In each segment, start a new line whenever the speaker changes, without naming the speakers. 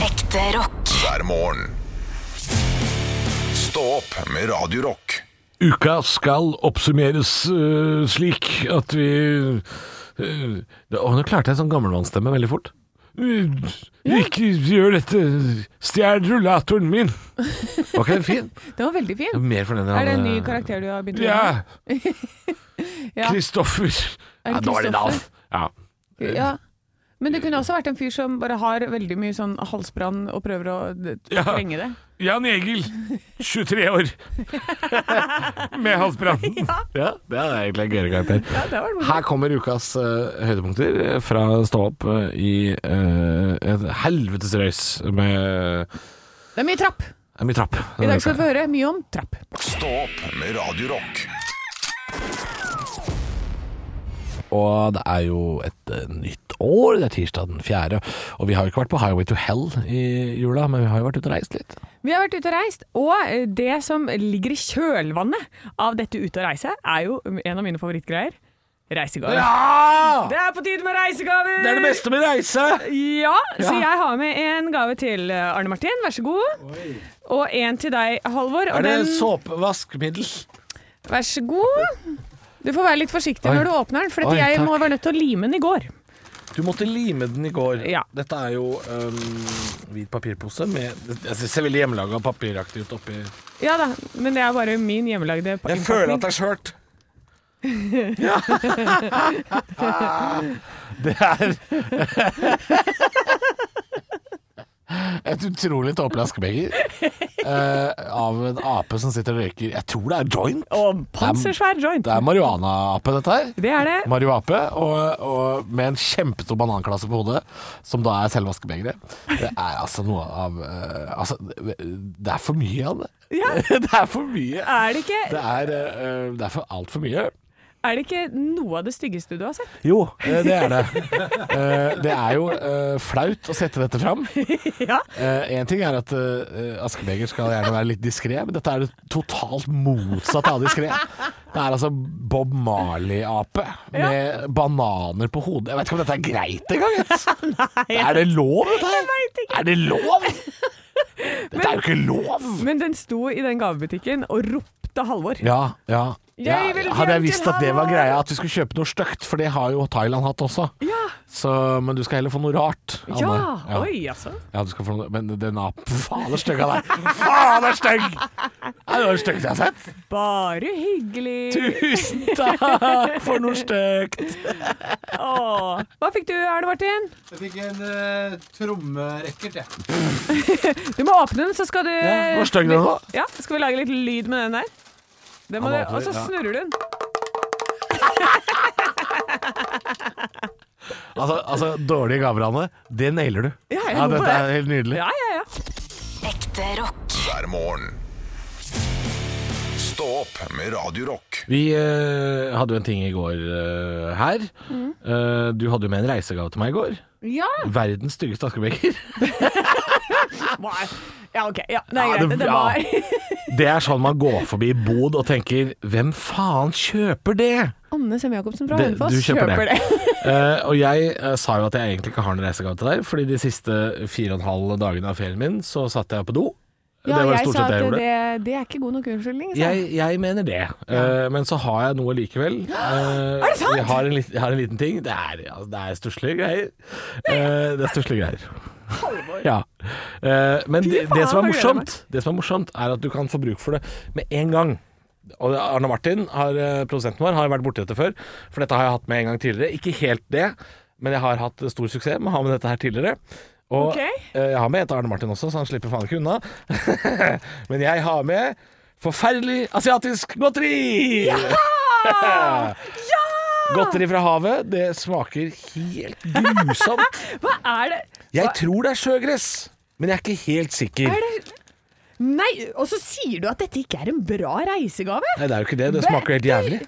Ekte rock.
hver morgen. Stå opp med Radio Rock.
Uka skal oppsummeres øh, slik at vi øh, Å, nå klarte jeg sånn gammelmannsstemme veldig fort. Øh, Ikke gjør dette! Stjel rullatoren min! Var ikke den fin?
Den var veldig
Jeg
fin.
er mer fornøyd enn
Er det en ny
han, øh,
karakter du har begynt å
Ja!
gjøre? Ja.
Kristoffer.
Er
Ja,
det
dårlig navn.
Kristoffer?
Ja.
Ja. Men det kunne også vært en fyr som bare har veldig mye sånn halsbrann og prøver å d-
Ja.
sprenge det.
Jan Egil, 23 år. Med halsbrann. Ja, det er egentlig en gøyere karakter.
Ja, det var det
Her kommer ukas eh, høydepunkter fra Stå opp eh, i eh, et helvetes røys med
Det er mye trapp.
Det er mye trapp.
I dag skal vi få høre mye om trapp.
Stå opp med Radio Rock
Og det er jo et eh, nytt år, det er tirsdag den fjerde. Og vi har jo ikke vært på Highway to Hell i jula, men vi har jo vært ute og reist litt.
Vi har vært ute og reist, og eh, det som ligger i kjølvannet av dette ute og reise, er jo en av mine favorittgreier. Reisegaver.
Ja!
Det er på tide med reisegaver!
Det er det beste med reise!
Ja, så
Ja.
jeg har med en gave til eh, Arne Martin, vær så god. Og en til deg, Halvor. Og
Er det
den,
såpevaskmiddel?
vær så god. Du får være litt forsiktig
Oi.
når du åpner den, for at
Oi,
jeg
takk.
må være nødt til å lime den i går.
Du måtte lime den i går.
Ja.
Dette er jo øhm, hvit papirpose med Det det ser veldig hjemmelaga papiraktig ut oppi
Ja da, men det er bare min hjemmelagde pa-
Jeg føler at det er skjørt. Ja. det er Et utrolig tåpelig askebeger eh, av en ape som sitter og røyker. Jeg tror det er joint.
Og pansersvær joint.
Det er marihuana-ape, dette her.
Det er det.
Marihuape, og, og med en kjempestor bananklasse på hodet, som da er selve askebegeret. Det er altså noe av eh, Altså, det det er for mye av det.
Ja.
Det er for mye.
Er det ikke,
Det er, uh, det er for altfor mye.
er det ikke noe av det styggeste du har sett?
Jo, eh, det er det. Eh, det er jo eh, flaut å sette dette fram.
Ja.
Én ting er at eh, Askebeger skal gjerne være litt diskré, men dette er det totalt motsatte av diskré. Det er altså Bob Marley-ape med bananer på hodet. Jeg vet ikke om dette er greit engang. jeg. Er det lov, dette her?
Jeg vet ikke.
Er det lov? Dette er jo ikke lov!
Men den sto i den gavebutikken og ropte Halvor.
Ja, ja. ja
Jeg vil
hadde jeg
hjem til
visst at det var
Halvor!
greia, at vi skulle kjøpe noe stygt, for det har jo Thailand hatt også.
Ja.
Så, men du skal heller få noe rart. Anne.
Ja, oi altså.
Ja, du skal få noe, men den apen Fader, stygg av deg! Fader, stygg! Ja, Det var det styggeste jeg har sett.
Bare hyggelig.
Tusen takk for noe stygt!
Åh. Hva fikk du, Arne Martin?
Jeg fikk en uh, trommerekkert, jeg.
Du må åpne den, så skal du
Ja, hvor stygg den var.
Ja, skal vi lage litt lyd med den der? Det må
Han
du,
åpner,
og så
ja.
snurrer du den.
Altså, altså dårlige gaver, Anne. Det nailer du.
Ja, jeg
ja,
tror på
Dette er
det.
helt nydelig.
Ja, ja, ja.
Ekte rock.
hver morgen. Stå opp med Radio Rock.
Vi eh, hadde jo en ting i går eh, her. Eh, du hadde jo med en reisegave til meg i går.
Mm. Ja,
Verdens styggeste askebeger.
Nei. ja ok. Ja, det er
Ja,
greit.
det-
Det
ja.
var
Det er sånn man går forbi bod og tenker 'hvem faen kjøper det?'
Anne Sem-Jacobsen fra
Det-
Hønefoss
du kjøper det.
kjøper det.
Eh, og jeg eh, sa jo at jeg egentlig ikke har noen reisegave til deg, fordi de siste fire og en halv dagene av ferien min så satt jeg på do.
Ja,
det var
jeg
stort
sa
sett det jeg
at
gjorde.
det, det er ikke god nok unnskyldning. sa
Jeg, jeg mener det, Eh, men så har jeg noe likevel. er
det sant?
Jeg har en, lit- jeg har en liten ting. Det er, ja, det er stusslige greier. Eh, det er stusslige greier. Ja. Eh, men det,
faen,
det, som er
nå gleder jeg meg.
morsomt, det som er morsomt, er at du kan få bruk for det med en gang. Og Arne Martin, har, eh, produsenten vår, har vært borti dette før, for dette har jeg hatt med en gang tidligere. Ikke helt det, men jeg har hatt stor suksess med å ha med dette her tidligere. Og
Ok.
eh, jeg har med et Arne Martin også, så han slipper faen ikke unna. Men jeg har med forferdelig asiatisk godteri!
Ah,
Godteri fra havet, det smaker helt grusomt.
Hva er det?
Jeg tror det er sjøgress, men jeg er ikke helt sikker.
Er det Nei, og så sier du at dette ikke er en bra reisegave?
Nei, det er jo ikke det. Det smaker helt jævlig.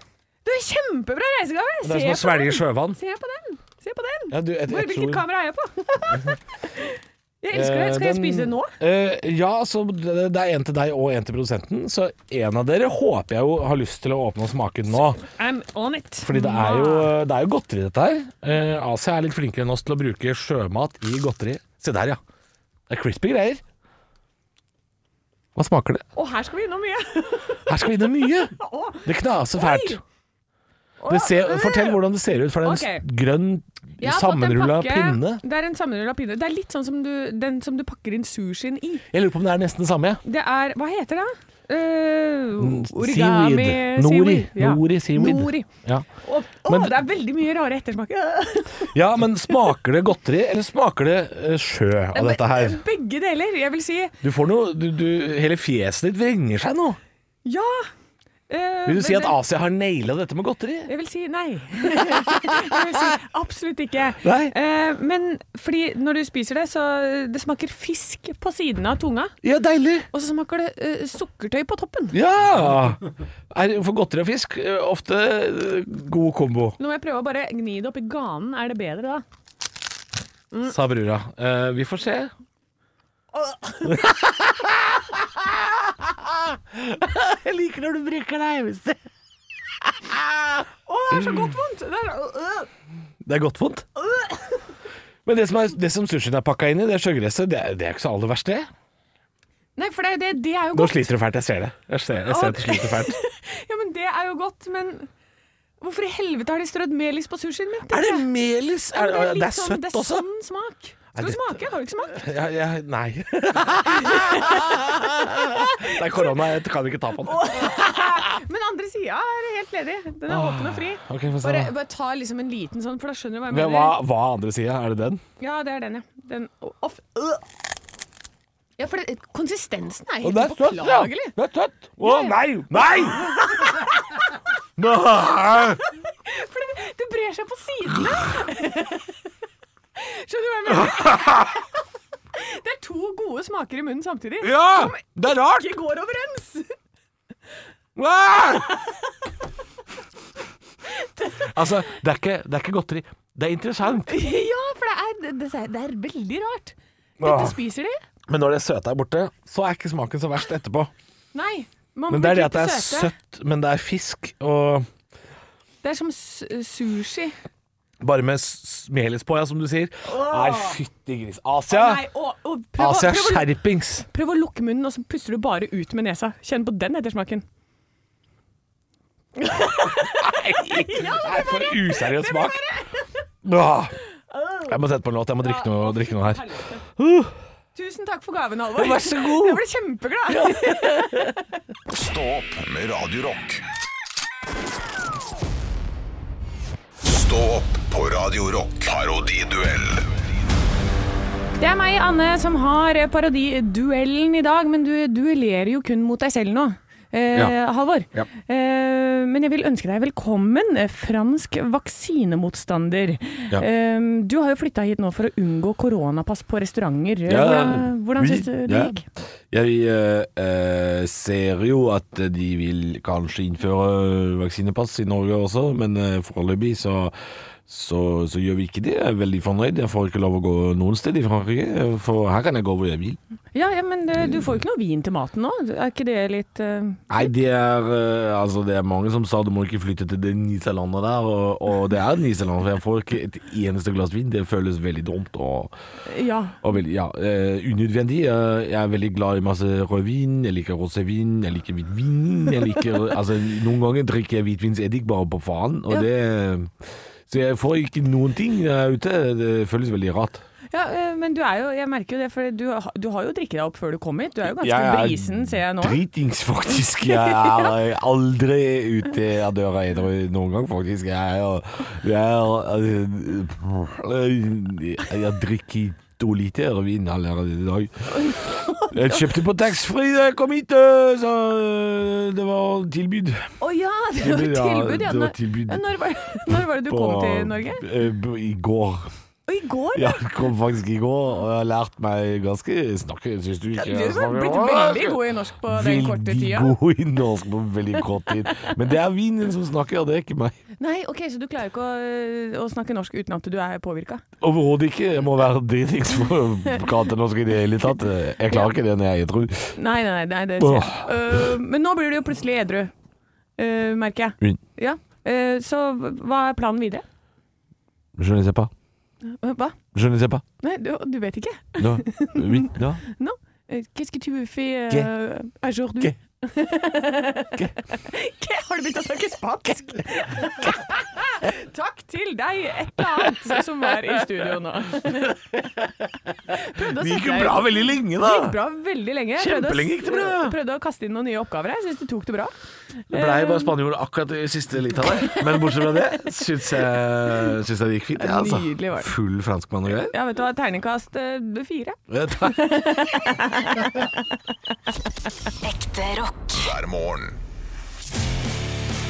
Det er en kjempebra reisegave!
Det er som å
Se på den!
svelge sjøvann.
Se på den! Se på den!
Ja, du, jeg- jeg
Hvor, hvilket
tror-
kamera er jeg på? jeg elsker det. Skal jeg spise det nå?
Eh, ja, så det det er en til deg og en til produsenten. Så en av dere håper jeg jo har lyst til å åpne og smake den nå.
I'm on it.
Fordi det er jo, det er jo godteri, dette her. Eh, Asia er litt flinkere enn oss til å bruke sjømat i godteri. Se der, ja.
Det er crispy greier. Hva smaker det?
Å, her skal vi innom mye!
Her skal vi inn i mye!
Å,
Det knaser fælt.
å,
Det ser, fortell hvordan det ser ut, for det er en
Ok.
s- grønn,
Jeg har fått en
sammenrulla
pakke-
pinne.
Det er en sammenrulla pinne. Det er litt sånn som du, den som du pakker inn sushien i.
Jeg lurer på om det er nesten det samme. ja.
Det er Hva heter det? Uh,
Mm,
origami
seaweed. Nori. Nori seaweed.
Nori.
Ja.
Å, å,
Men-
det er veldig mye rare ettersmak.
ja, men smaker det godteri, eller smaker det eh, sjø av dette her?
Begge deler. Jeg vil si
Du får noe du, du, Hele fjeset ditt vrenger seg nå.
ja. eh,
Vil du si
men-
at Asia har naila dette med godteri?
Jeg vil si nei. Jeg vil si absolutt ikke.
Nei.
Eh, men fordi når du spiser det, så det smaker fisk på siden av tunga.
Ja, deilig!
Og så smaker det eh, sukkertøy på toppen.
Ja! Er, for godteri og fisk eh, ofte eh, god kombo,
Nå må jeg prøve å bare gni det opp i ganen. Er det bedre da?
sa brura. Eh, vi får se. Jeg liker når du bruker deg. hvis det-
Å, det
Mm.
er så godt vondt! Det er, øh,
Det er godt vondt. Men det som, er, det som sushien er pakka inn i, det sjøgresset, det, er- det er ikke så aller verst, det.
Nei, for det, er- det, det er jo
Nå
godt.
sliter du fælt, jeg ser det. Jeg ser, jeg ser at du sliter fælt.
Ja, men det er jo godt, men hvorfor i helvete har de strødd melis på sushien min?
Er det melis? Er,
Men
det er
litt sånn-
søtt
det er
også.
Sånn smak.
Er
Skal du
dette-
smake? Har du ikke smakt?
Ja, ja, nei. det er korona, jeg kan ikke ta på den.
Men andre sida er helt ledig. Den er åpen og fri.
Ok, få se
Bare,
da.
bare ta liksom en liten sånn, for da skjønner du hva jeg
Men
mener.
hva, hva andre sida? Er det den?
Ja, det er den, ja. Den, å, å, f- øh. Ja, for det, konsistensen er
Å,
helt upåklagelig.
Det er søtt! Å nei! Nei! Nei!
For det, det brer seg på sidene. Skjønner du hva jeg mener? Det er to gode smaker i munnen samtidig.
Ja! Det er rart!
Ikke går overens.
Altså, det er, ikke, det er ikke godteri. Det er interessant.
Ja, for det er, det, er- det er veldig rart. Dette
Ah.
spiser de.
Men når det søte er borte, så er ikke smaken så verst etterpå.
Nei. Man
Men det er
blir
det at det
ikke
er
søte.
søtt, men det er fisk, og
Det er som s- eh, sushi.
bare med s- melis på, ja, som du sier. Nei, fytti gris. Asia!
Nei, å, å, prøv, å-
Asia
prøv, å-
skjerpings!
prøv å lukke munnen, og så puster du bare ut med nesa. Kjenn på den ettersmaken.
Nei, for useriøs smak. Åh. Jeg må sette på en låt. Jeg må drikke noe, drikke noe her.
Tusen takk for gaven, Halvor.
Vær så god.
Jeg ble kjempeglad.
Stå opp med Radio Rock. Stå opp på Radio Rock. Parodiduell.
Det er meg, Anne, som har parodiduellen i dag, men du duellerer jo kun mot deg selv nå. Eh,
Ja.
Halvor.
Ja.
Eh, men jeg vil ønske deg velkommen, eh, fransk vaksinemotstander.
Ja.
Eh, du har jo flytta hit nå for å unngå koronapass på restauranter.
Ja,
Hvordan, hvordan
vi-
syns du det
ja.
gikk?
Jeg eh, eh, ser jo at de vil kanskje innføre vaksinepass i Norge også, men eh, foreløpig så, så, så gjør vi ikke det. Jeg er veldig fornøyd. Jeg får ikke lov å gå noen sted i Frankrike, for her kan jeg gå hvor jeg vil.
Ja, ja, men eh, du får jo ikke noe vin til maten nå. Er ikke det litt eh,
Nei, det er, eh, altså, det er mange som sa du må ikke flytte til det niselandet der, og, og det er et niseland, for jeg får ikke et eneste glass vin. Det føles veldig dumt. og...
Ja.
Og veldig, ja, eh, unødvendig. Eh, jeg er veldig glad i masse rødvin. Jeg liker rosévin, jeg liker hvitvin. Jeg liker, altså, noen ganger drikker jeg hvitvinseddik bare på faen. Og
Ja.
det, så jeg får ikke noen ting når jeg er ute. Det føles veldig rart.
ja eh, men du er jo Jeg merker jo det, for du, har- du har jo drikket deg opp før du kom hit. Du er jo ganske brisen, ser jeg nå.
dritings, faktisk. Jeg er eh, aldri ute av døra edru noen gang, faktisk. Jeg er, jeg er eh, Jeg drikker to liter vin allerede i dag. Jeg kjøpte på taxfree da jeg kom hit, eh, så eh, det var tilbud.
Å ja, det var
Tilbud, ja, det
tilbud. Ja.
var
Når-
tilbud.
ja, Når, var, når var det du kom
på-
til Norge?
eh, b- I går.
Og i går?
Ja, jeg kom faktisk i går, og jeg har lært meg ganske snakke, syns du ikke?
Du
jeg
har
snakker-
blitt veldig god i norsk på den korte tida.
Veldig god i norsk på veldig kort tid. Men det er vinen som snakker, det er ikke meg.
Nei, ok, Så du klarer ikke å, å snakke norsk uten at du er påvirka?
Overhodet ikke. Jeg må være dritings for å prate norsk i det hele tatt. Jeg klarer ikke det når jeg er edru.
Nei, nei, nei, nei, det ser jeg. Øh, men nå blir du jo plutselig edru, øh, merker jeg. Eh,
Mm.
Ja. øh, så hva er planen videre?
Je ne sais pas.
Hva?
Je ne sais pas.
Nei, du, du vet ikke?
No. Oui. No.
Eh, Qu'est-ce que tu fais
Ke.
uh, aujourd'hui?
Ke.
Ke. Har du begynt å snakke spansk? Takk til deg, et eller annet, som var i studio nå. Prøvde å
Det gikk
sette
jo
deg-
bra veldig lenge,
Det gikk
da!
bra veldig lenge. Prøvde å-
Kjempelenge gikk det bra.
Prøvde å kaste inn noen nye oppgaver her. Syns du tok det bra.
Det blei bare spanjolen akkurat i siste litt av det. Men bortsett fra det syns jeg, syns jeg det gikk fint. Ja, altså.
Nydelig var det.
Full franskmann og greier.
Ja, vet du hva. Terningkast eh, fire.
Ja, takk.
Ekte rock.
hver morgen.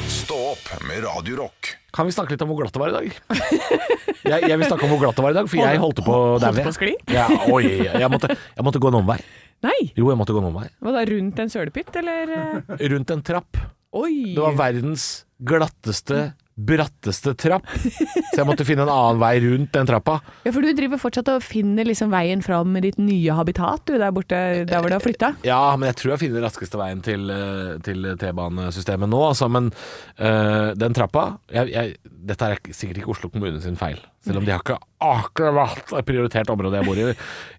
Stå opp med Radio Rock.
Kan vi snakke litt om hvor glatt det var i dag? Jeg, jeg vil snakke om hvor glatt det var i dag, for jeg holdt på å
Holdt
daue.
på å skli?
Ja, oi, jeg måtte, jeg måtte gå en omvei.
Nei!
Jo, jeg måtte gå en omvei.
Var det rundt en sølepytt, eller? eh?
Rundt en trapp.
Oi!
Det var verdens glatteste, bratteste trapp. Så jeg måtte finne en annen vei rundt den trappa.
Ja, for du driver fortsatt og finner liksom veien fram i ditt nye habitat, du, der borte, der hvor du har flytta.
Ja, men jeg tror jeg finner den raskeste veien til, eh, til T-banesystemet nå, altså. Men eh, den trappa jeg, jeg, Dette er ikke- sikkert ikke Oslo kommune sin feil, selv om de har ikke akkurat prioritert området jeg bor i i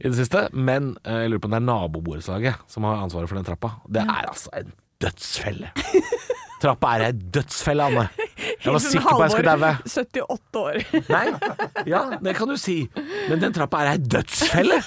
det siste. Men eh, jeg lurer på om det er naboborettslaget som har ansvaret for den trappa. Det er altså en dødsfelle. Trappa er ei dødsfelle, Anne. Jeg var sikker på jeg skulle daue.
78 sånn år.
Nei, ja, det kan du si. Men den trappa er ei dødsfelle.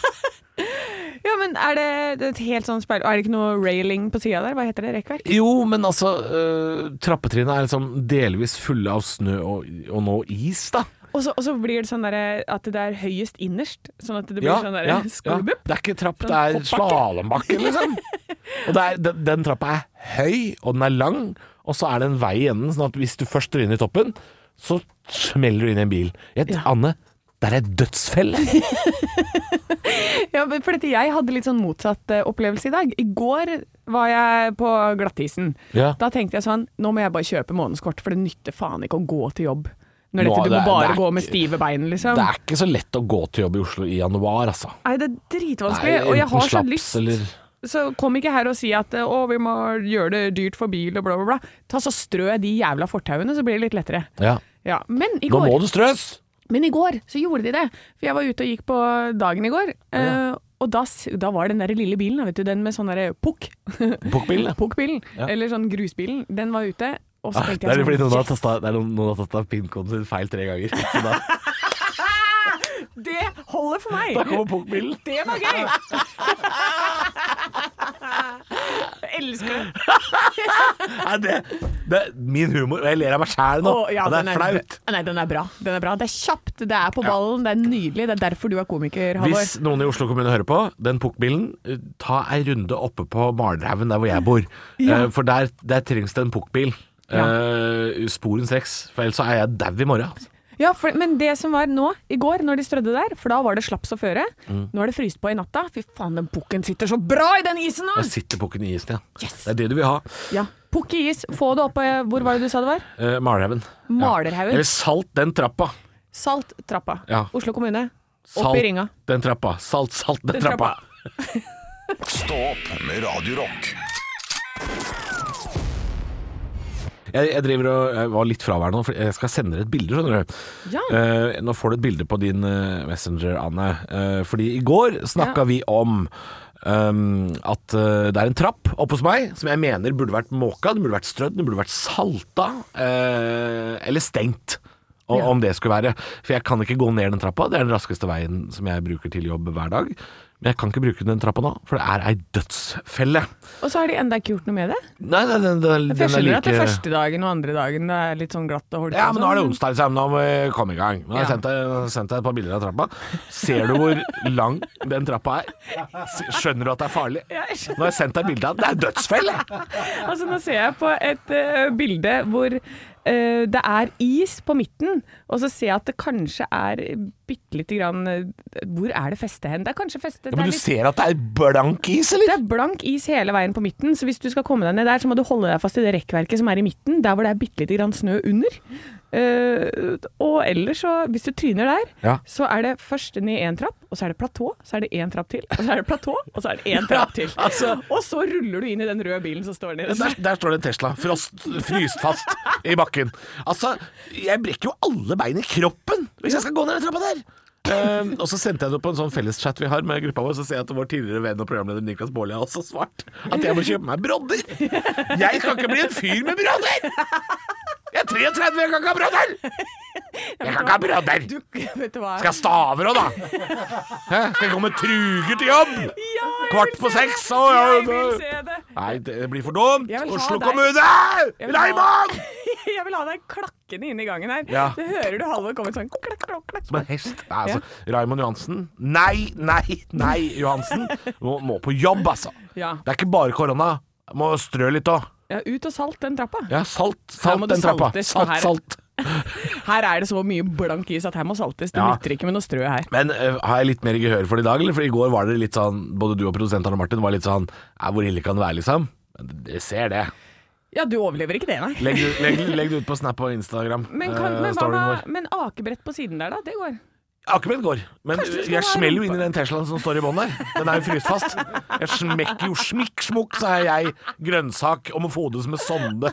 ja, men er det et helt sånn speil... Er det ikke noe railing på sida der? Hva heter det? Rekkverk?
Jo, men altså øh, Trappetrinnet er liksom delvis fulle av snø og, og nå is, da.
Og så og så blir det sånn derre at det er høyest innerst, sånn at det blir sånn derre skolubupp.
Det er ikke trapp, det
Sånn
er slalåmbakke, liksom. og det er, den, den trappa er høy, og den er lang, og så er det en vei i enden, sånn at hvis du først drar inn i toppen, så smeller du inn i en bil. Jeg, Anne, der er dødsfelle.
Ja, men for dette, jeg hadde litt sånn motsatt eh, opplevelse i dag. I går var jeg på glattisen.
Ja.
Da tenkte jeg sånn, nå må jeg bare kjøpe månedskort, for det nytter faen ikke å gå til jobb. Når
Nå,
dette, du
det
må
er-
bare
det er
gå med
ikke-
stive bein, liksom.
Det er ikke så lett å gå til jobb i Oslo i januar, altså.
Nei, det er dritvanskelig,
Nei,
og jeg
enten
har så
slaps
lyst.
eller-
Så kom ikke her og si at å, vi må gjøre det dyrt for bil og bla, bla, bla. Ta så strø de jævla fortauene, så blir det litt lettere.
Ja.
Ja, men i
Nå må
går,
du strøs!
men i går så gjorde de det. For jeg var ute og gikk på dagen i går, eh, og da, s- da var den der lille bilen, vet du, den med sånn der pukk.
Pukkbilen, ja. Ah,
Pukkbilen, eller sånn grusbilen, den var ute. Og så
Det
tenkte
er
jeg
fordi
sånn,
noen har
yes,
tasta, det er noen- noen har tasta pin-koden sin feil tre ganger. Så da,
det holder for meg.
da kommer pukkbilen.
Det var gøy! Jeg elsker det.
Nei, det, det er min humor, og jeg ler av meg sjæl nå.
Å, ja,
og det
den
er flaut.
Nei, den er bra. Den er bra. Det er kjapt, det er på ballen, det er nydelig. Det er derfor du er komiker, Halvor.
Hvis noen i Oslo kommune hører på, den pukkbilen, eh, ta ei runde oppe på Malerhaugen der hvor jeg bor. Eh, For der, der trengs det en pukkbil. Eh, sporenstreks, for ellers så er jeg dau i morgen. altså.
Ja, for, men det som var nå, i går, når de strødde der, for da var det slaps å føre.
Mm.
Nå er det fryst på i natta. Fy faen, den pukken sitter så bra i den isen nå!
Da sitter pukken i isen igjen.
Yes.
Det er det du vil ha.
Ja, Pukk i is. Få det opp eh, Hvor var det du sa det var?
Eh, Malerhaugen.
Malerhaugen.
Eller salt den trappa.
Salt trappa.
Ja.
Oslo kommune. Opp
Salt
i ringa.
den trappa. Salt, salt den,
Den
trappa.
trappa.
Stå opp med Radio Rock.
Jeg, jeg driver og jeg var litt fraværende nå, for jeg skal sende deg et bilde, skjønner du.
Ja.
Eh, nå får du et bilde på din eh, Messenger, Anne. Eh, fordi i går snakka
Ja.
vi om ehm, at eh, det er en trapp oppe hos meg som jeg mener burde vært måka, den burde vært strødd, den burde vært salta, eh, eller stengt. Og, Om det skulle være. For jeg kan ikke gå ned den trappa, det er den raskeste veien som jeg bruker til jobb hver dag. Men jeg kan ikke bruke den trappa nå, for det er ei dødsfelle.
Og så har de enda ikke gjort noe med det.
Nei, den, den, den,
For jeg
den er
skjønner at det
like-
første dagen og andre dagen det er litt sånn glatt og holdt
Ja, men nå er det onsdag, liksom. Nå må vi komme i gang. Nå har jeg
Ja.
sendt deg, sendt deg et par bilder av trappa. Ser du hvor lang den trappa er? S- Skjønner du at det er farlig? Nå har jeg sendt deg bilde av Det er dødsfelle!
Altså, nå ser jeg på et eh, bilde hvor eh, det er is på midten, og så ser jeg at det kanskje er bitte lite grann eh, Hvor er det festet hen? Det er kanskje festet
Ja,
det,
men
er
du
litt,
ser at det er blank is,
det
eller?
er blank is hele veien på midten, så hvis du skal komme deg ned der, så må du holde deg fast i det rekkverket som er i midten, der hvor det er bitte lite grann snø under. Eh, og ellers så, hvis du tryner der,
Ja.
så er det først ned én trapp, og så er det platå, så er det én trapp til, og så er det platå, og så er det én trapp til.
altså-
og så ruller du inn i den røde bilen som står nede der.
Der, der står det en Tesla, frost, fryst fast i bakken. Altså, jeg brekker jo alle bein i kroppen hvis jeg skal gå ned den trappa der! Eh, og så sendte jeg det på en sånn felleschat vi har med gruppa vår, så ser jeg at vår tidligere venn og programleder Niklas Baarli har også svart at jeg må kjøpe meg brodder. Jeg skal ikke bli en fyr med brodder! Jeg er 33, jeg kan ikke ha brodder! Jeg kan ikke ha brodder!
Du, vet du hva?
Skal jeg ha staver òg, da? Hæ? Skal jeg gå med truger til jobb?
Ja, jeg
Kvart
vil
på
se
seks,
det.
å, ja,
Jeg vil
det-
se det!
Nei, det blir for dumt!
Jeg vil ha
Oslo
deg.
kommune!
Jeg vil ha-
Reimann!
Jeg vil ha deg klakkende inn i gangen her.
Ja.
Så hører du Halvor komme sånn klakk, klakk, klakk.
Som en hest. Nei, altså, Raymond Johansen. Nei, nei, nei, Johansen. Må, må på jobb, altså.
Ja.
Det er ikke bare korona. Må strø litt òg.
ja, ut og salt den trappa.
Ja, salt.
må
Salt
du
den trappa.
saltes, og
Salt,
her-
salt.
Her er det så mye blank is at her må saltes. Det
Ja.
nytter ikke med noe strø her.
Men eh, har jeg litt mer gehør for det i dag, eller? For i går var det litt sånn, både du og produsent Arne Martin var litt sånn «Ja, Hvor ille kan det være, liksom? Men Dere ser det.
Ja, du overlever ikke det, nei.
Legg, det- legg, legg det ut på Snap og Instagram.
Men, kan,
eh,
men, hva
storyen vår.
med, men akebrett på siden der, da? Det går.
Akkurat går. Men
Kanskje du skal
jeg
ha
smeller jo
rumpa-
inn i den Teslaen som står i bånn der. Den er jo fryst fast. Jeg smekker jo smikk smukk, så er jeg grønnsak og må fodes med sonde.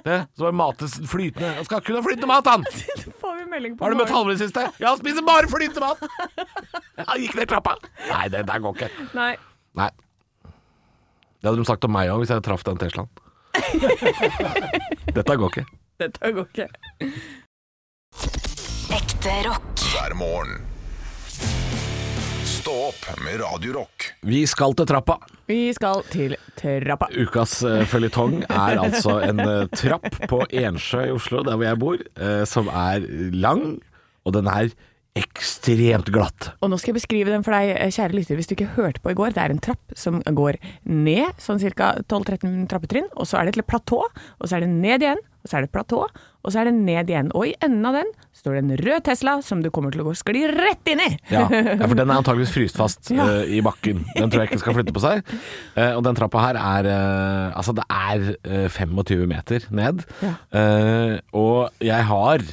Det, så bare mates flytende Han skal kun ha flytende mat, han!
Så får vi melding på
Har du møtt
morgenen.
Halvor i det siste? Ja, han spiser bare flytende mat! Han gikk ned trappa. Nei, det der går ikke.
Nei.
Nei. Det hadde de sagt om meg òg, hvis jeg traff den Teslaen. Dette går ikke.
Dette går ikke.
Ekte rock.
hver morgen. Stå opp med Radio Rock.
Vi skal til trappa.
Vi skal til trappa.
Ukas uh, føljetong er altså en eh, trapp på Ensjø i Oslo, der hvor jeg bor, eh, som er lang, og den er ekstremt glatt.
Og nå skal jeg beskrive den for deg, eh, kjære lytter, hvis du ikke hørte på i går. Det er en trapp som går ned, sånn ca. 12-13 trappetrinn, og så er det et platå, og så er det ned igjen, og så er det et platå, og så er det ned igjen. Og i enden av den står det en rød Tesla som du kommer til å gå skli rett inn i!
Ja, ja, for den er antageligvis fryst fast
Ja.
eh, i bakken. Den tror jeg ikke skal flytte på seg. Eh, og den trappa her er eh, Altså, det er eh, 25 meter ned. Eh, og jeg har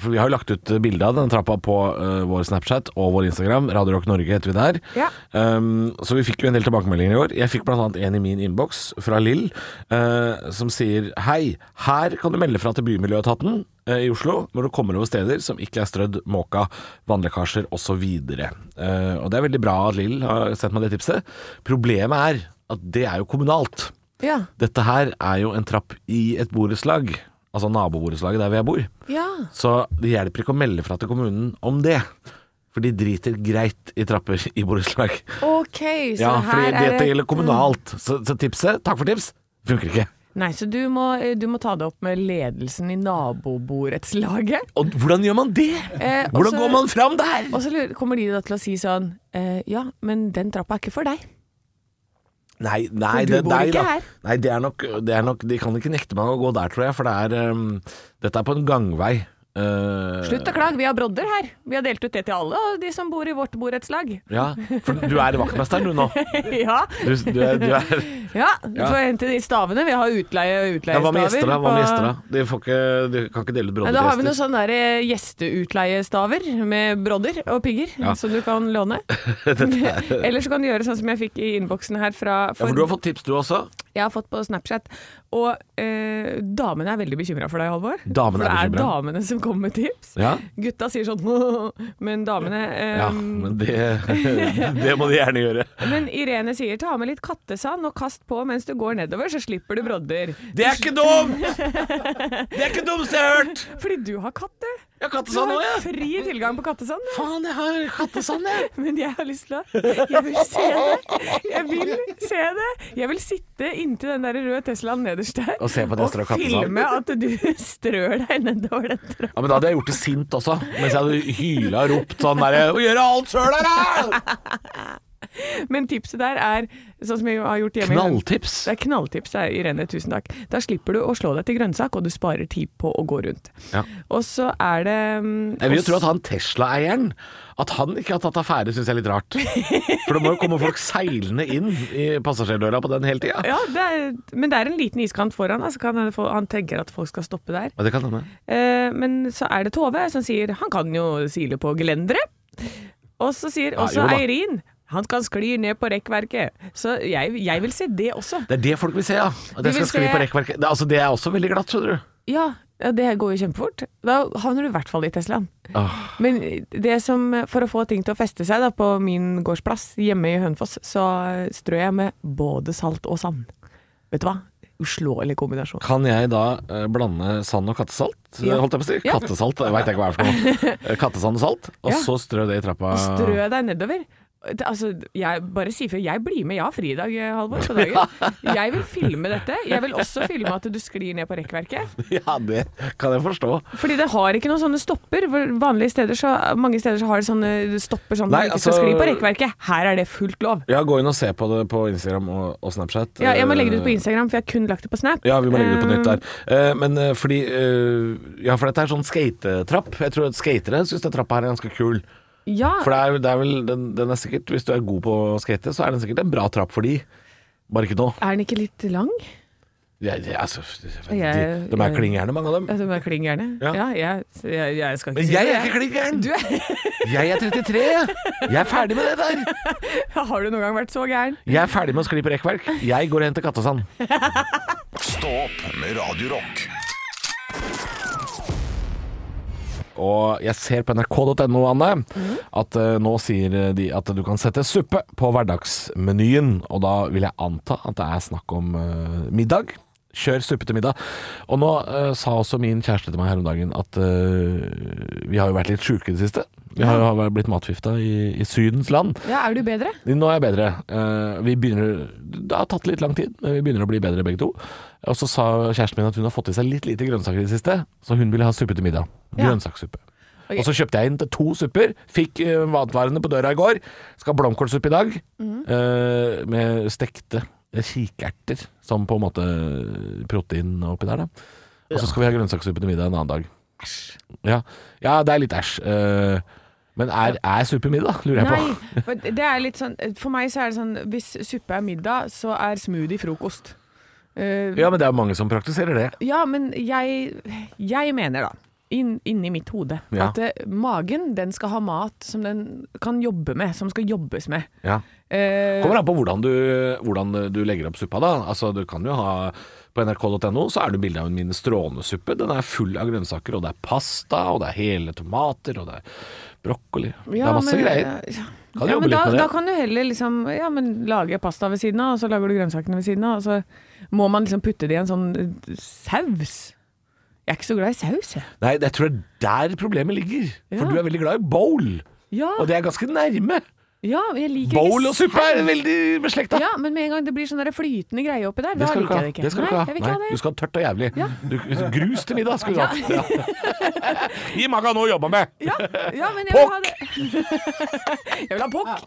For vi har jo lagt ut eh, bilde av den trappa på eh, vår Snapchat og vår Instagram. Radio Rock Norge heter vi der.
Ja.
Um, så vi fikk jo en del tilbakemeldinger i år. Jeg fikk bl.a. en i min innboks fra Lill, eh, som sier Hei, her kan du melde fra til Bymiljøetaten eh, i Oslo når du kommer over steder som ikke er strødd måka, vannlekkasjer osv. Uh, og det er veldig bra at Lill har sendt meg det tipset. Problemet er at det er jo kommunalt.
Ja.
Dette her er jo en trapp i et borettslag, altså naboborettslaget der hvor jeg bor.
ja.
Så det hjelper ikke å melde fra til kommunen om det. For de driter greit i trapper i borettslag.
Ok, så
Ja, fordi
her er mm.
dette
det
gjelder kommunalt. Så, så tipset, takk for tips, funker ikke.
Nei, så du må, du må ta det opp med ledelsen i naboborettslaget.
Og hvordan gjør man det?
Eh, og
Hvordan
så-
går man fram der?
Og så lurer- kommer de da til å si sånn eh, Ja, men den trappa er ikke for deg.
Nei, nei,
For du
det,
bor
nei,
ikke
da.
her.
nei det, er nok, det er nok De kan ikke nekte meg å gå der, tror jeg, for det er um, Dette er på en gangvei. Eh,
Slutt å klage, vi har brodder her. Vi har delt ut det til alle og de som bor i vårt borettslag.
Ja, for du er vaktmesteren, du nå.
ja,
Du, du er, du er
ja, du får hente de stavene. Vi har utleie
ja,
utleiestaver.
Hva med gjester, da? Hva med
på-
gjester, da? De, får ikke, de kan ikke dele ut
Nei, da har vi noen
brodder
sånne der, eh, gjesteutleiestaver med brodder og pigger
Ja.
som du kan låne. Eller så kan du gjøre sånn som jeg fikk i innboksen her fra
Ja, for du har fått tips, du også?
Jeg har fått på Snapchat. Og eh, damene er veldig bekymra for deg, Halvor.
Damene
for det
er
er
bekymret.
damene som kommer med tips.
Ja.
Gutta sier sånn Men damene eh,
Ja, men det, det må de gjerne gjøre.
Men Irene sier ta med litt kattesand og kast på mens du går nedover, så slipper du brodder.
Det er ikke dumt! Det er ikke dumt jeg har hørt!
Fordi du har katt, du.
Jeg har
Du
kattesand
har
òg, jeg.
fri tilgang på kattesand. du.
Faen, jeg har kattesand, jeg.
Men jeg har lyst til å Jeg vil se det. Jeg vil se det. Jeg vil sitte inntil den der røde Teslaen nederst der
Og se på Tester og kattesand.
filme at du strør deg nedover den trappa.
Ja, men Da hadde jeg gjort det sint også, mens jeg hadde hyla og ropt sånn derre Å gjøre alt sjøl her, da!
Men tipset der er sånn som jeg har gjort hjemme. i Lund-
Knalltips.
Det er knalltips, det er, Irene. Tusen takk. Da slipper du å slå deg til grønnsak, og du sparer tid på å gå rundt.
Ja.
Og så er det mm,
Jeg vil jo
også-
tro at han Tesla-eieren At han ikke har tatt affære, syns jeg er litt rart. For det må jo komme folk seilende inn i passasjerdøra på den hele tida.
ja, det er, men det er en liten iskant foran, da, så kan han, få, han tenker at folk skal stoppe der.
Ja, det kan hende.
Eh, men så er det Tove som sier han kan jo sile på gelenderet. Og så sier
Ja,
også
jo da.
Eirin han kan skli ned på rekkverket. Så jeg, jeg vil se det også.
Det er det folk vil se, ja. At
De
jeg
vil
skal skli
se-
på rekkverket. Det, altså, det er også veldig glatt, skjønner du.
Ja, Ja, det går jo kjempefort. Da havner du i hvert fall i Teslaen. Men det som, for å få ting til å feste seg da, på min gårdsplass hjemme i Hønefoss, så strør jeg med både salt og sand. Vet du hva? Uslåelig kombinasjon.
Kan jeg da eh, blande sand og kattesalt?
Ja.
Holdt jeg på å si.
Ja.
Kattesalt, jeg veit ikke hva det er for noe. Eh, Kattesand og salt, og
Ja.
så strø det i trappa.
Strø deg nedover. Det- Altså, jeg bare si ifra. Jeg blir med, jeg har fridag, eh, Halvor, på dagen. Jeg vil filme dette. Jeg vil også filme at du sklir ned på rekkverket.
Ja, det kan jeg forstå.
Fordi det har ikke noen sånne stopper. For vanlige steder så, mange steder så har det sånne stopper sånn at
Nei,
man ikke skal
altså-
skli på rekkverket. Her er det fullt lov.
Ja, gå inn og se på det på Instagram og, og Snapchat.
Ja, jeg må legge det ut
Eh,
på Instagram, for jeg har kun lagt det på Snap.
Ja, vi må legge det ut på nytt
Eh,
der. Eh, Men eh, fordi eh, Ja, for dette er sånn skatetrapp. Jeg tror at skatere syns den trappa her er ganske kul.
Ja,
For det er, det er vel den, den er sikkert Hvis du er god på å skate, så er den sikkert en bra trapp for de. Bare ikke nå.
er den ikke litt lang?
Ja, ja, altså, de,
Jeg-
de er
jeg-
kling gærne, mange av dem.
Ja, Den er kling gjerne.
Ja.
Ja, jeg, jeg, jeg skal ikke
Men
si
jeg
det.
er ikke kling gæren!
Du er,
Jeg er 33! Jeg er ferdig med det der!
har du noen gang vært så gæren?
Jeg er ferdig med å skli på rekkverk. Jeg går og henter kattesand.
Stå opp med Radio Rock.
Og jeg ser på nrk.no, Anne, at eh, nå sier de at du kan sette suppe på hverdagsmenyen. Og da vil jeg anta at det er snakk om eh, middag. Kjør suppe til middag. Og nå eh, sa også min kjæreste til meg her om dagen at eh, vi har jo vært litt sjuke i det siste. Vi har jo blitt matforgifta i, i Sydens land.
Ja, er du bedre?
Nå er jeg bedre. Eh, Vi begynner, det har tatt litt lang tid, men vi begynner å bli bedre begge to. Og så sa kjæresten min at hun har fått i seg litt lite grønnsaker i det siste, så hun ville ha suppe til middag.
Ja.
Grønnsakssuppe.
Ok.
Og så kjøpte jeg inn til to supper. Fikk eh, matvarene på døra i går. Skal ha blomkålsuppe i dag,
Mhm.
eh, med stekte eh, kikerter som på en måte eh, protein oppi der, da. Og så skal vi ha grønnsakssuppe til middag en annen dag. Ja, ja det er litt æsj. eh, Men er, er suppe middag, lurer jeg på.
Nei, for det er litt sånn For meg så er det sånn Hvis suppe er middag, så er smoothie frokost. Eh,
Ja, men det er mange som praktiserer det.
Ja, men jeg, jeg mener da, inn, inni mitt hode,
Ja.
at eh, magen den skal ha mat som den kan jobbe med, som skal jobbes med.
Ja.
Eh,
Kommer an på hvordan du, hvordan du legger opp suppa, da. Altså, du kan jo ha På nrk.no så er det bilde av min strånesuppe. Den er full av grønnsaker, og det er pasta, og det er hele tomater, og det er brokkoli. det
ja,
er masse
men-
greier.
Ja,
Kan
ja,
jobbe
men
litt
da,
med det.
da kan du heller liksom ja, men lage pasta ved siden av, og så lager du grønnsakene ved siden av, og så må man liksom putte det i en sånn eh, saus. Jeg er ikke så glad i saus, jeg.
Nei, jeg tror det er der problemet ligger.
Ja.
For du er veldig glad i bowl,
Ja,
og det er ganske nærme.
ja, jeg liker
Bowl
ikke
og suppe er veldig beslekta.
Ja, men med en gang det blir sånn der flytende greie oppi der, da
skal du
liker jeg det
ha.
ikke.
Det skal du ikke
Nei,
ha.
jeg vil ikke
Nei,
ha
Du
det.
skal ha tørt og jævlig. Du, grus til middag skulle du hatt. Ja. Gi maga noe å jobbe med!
Ja, ja, men jeg vil ha det. Jeg vil ha pokk!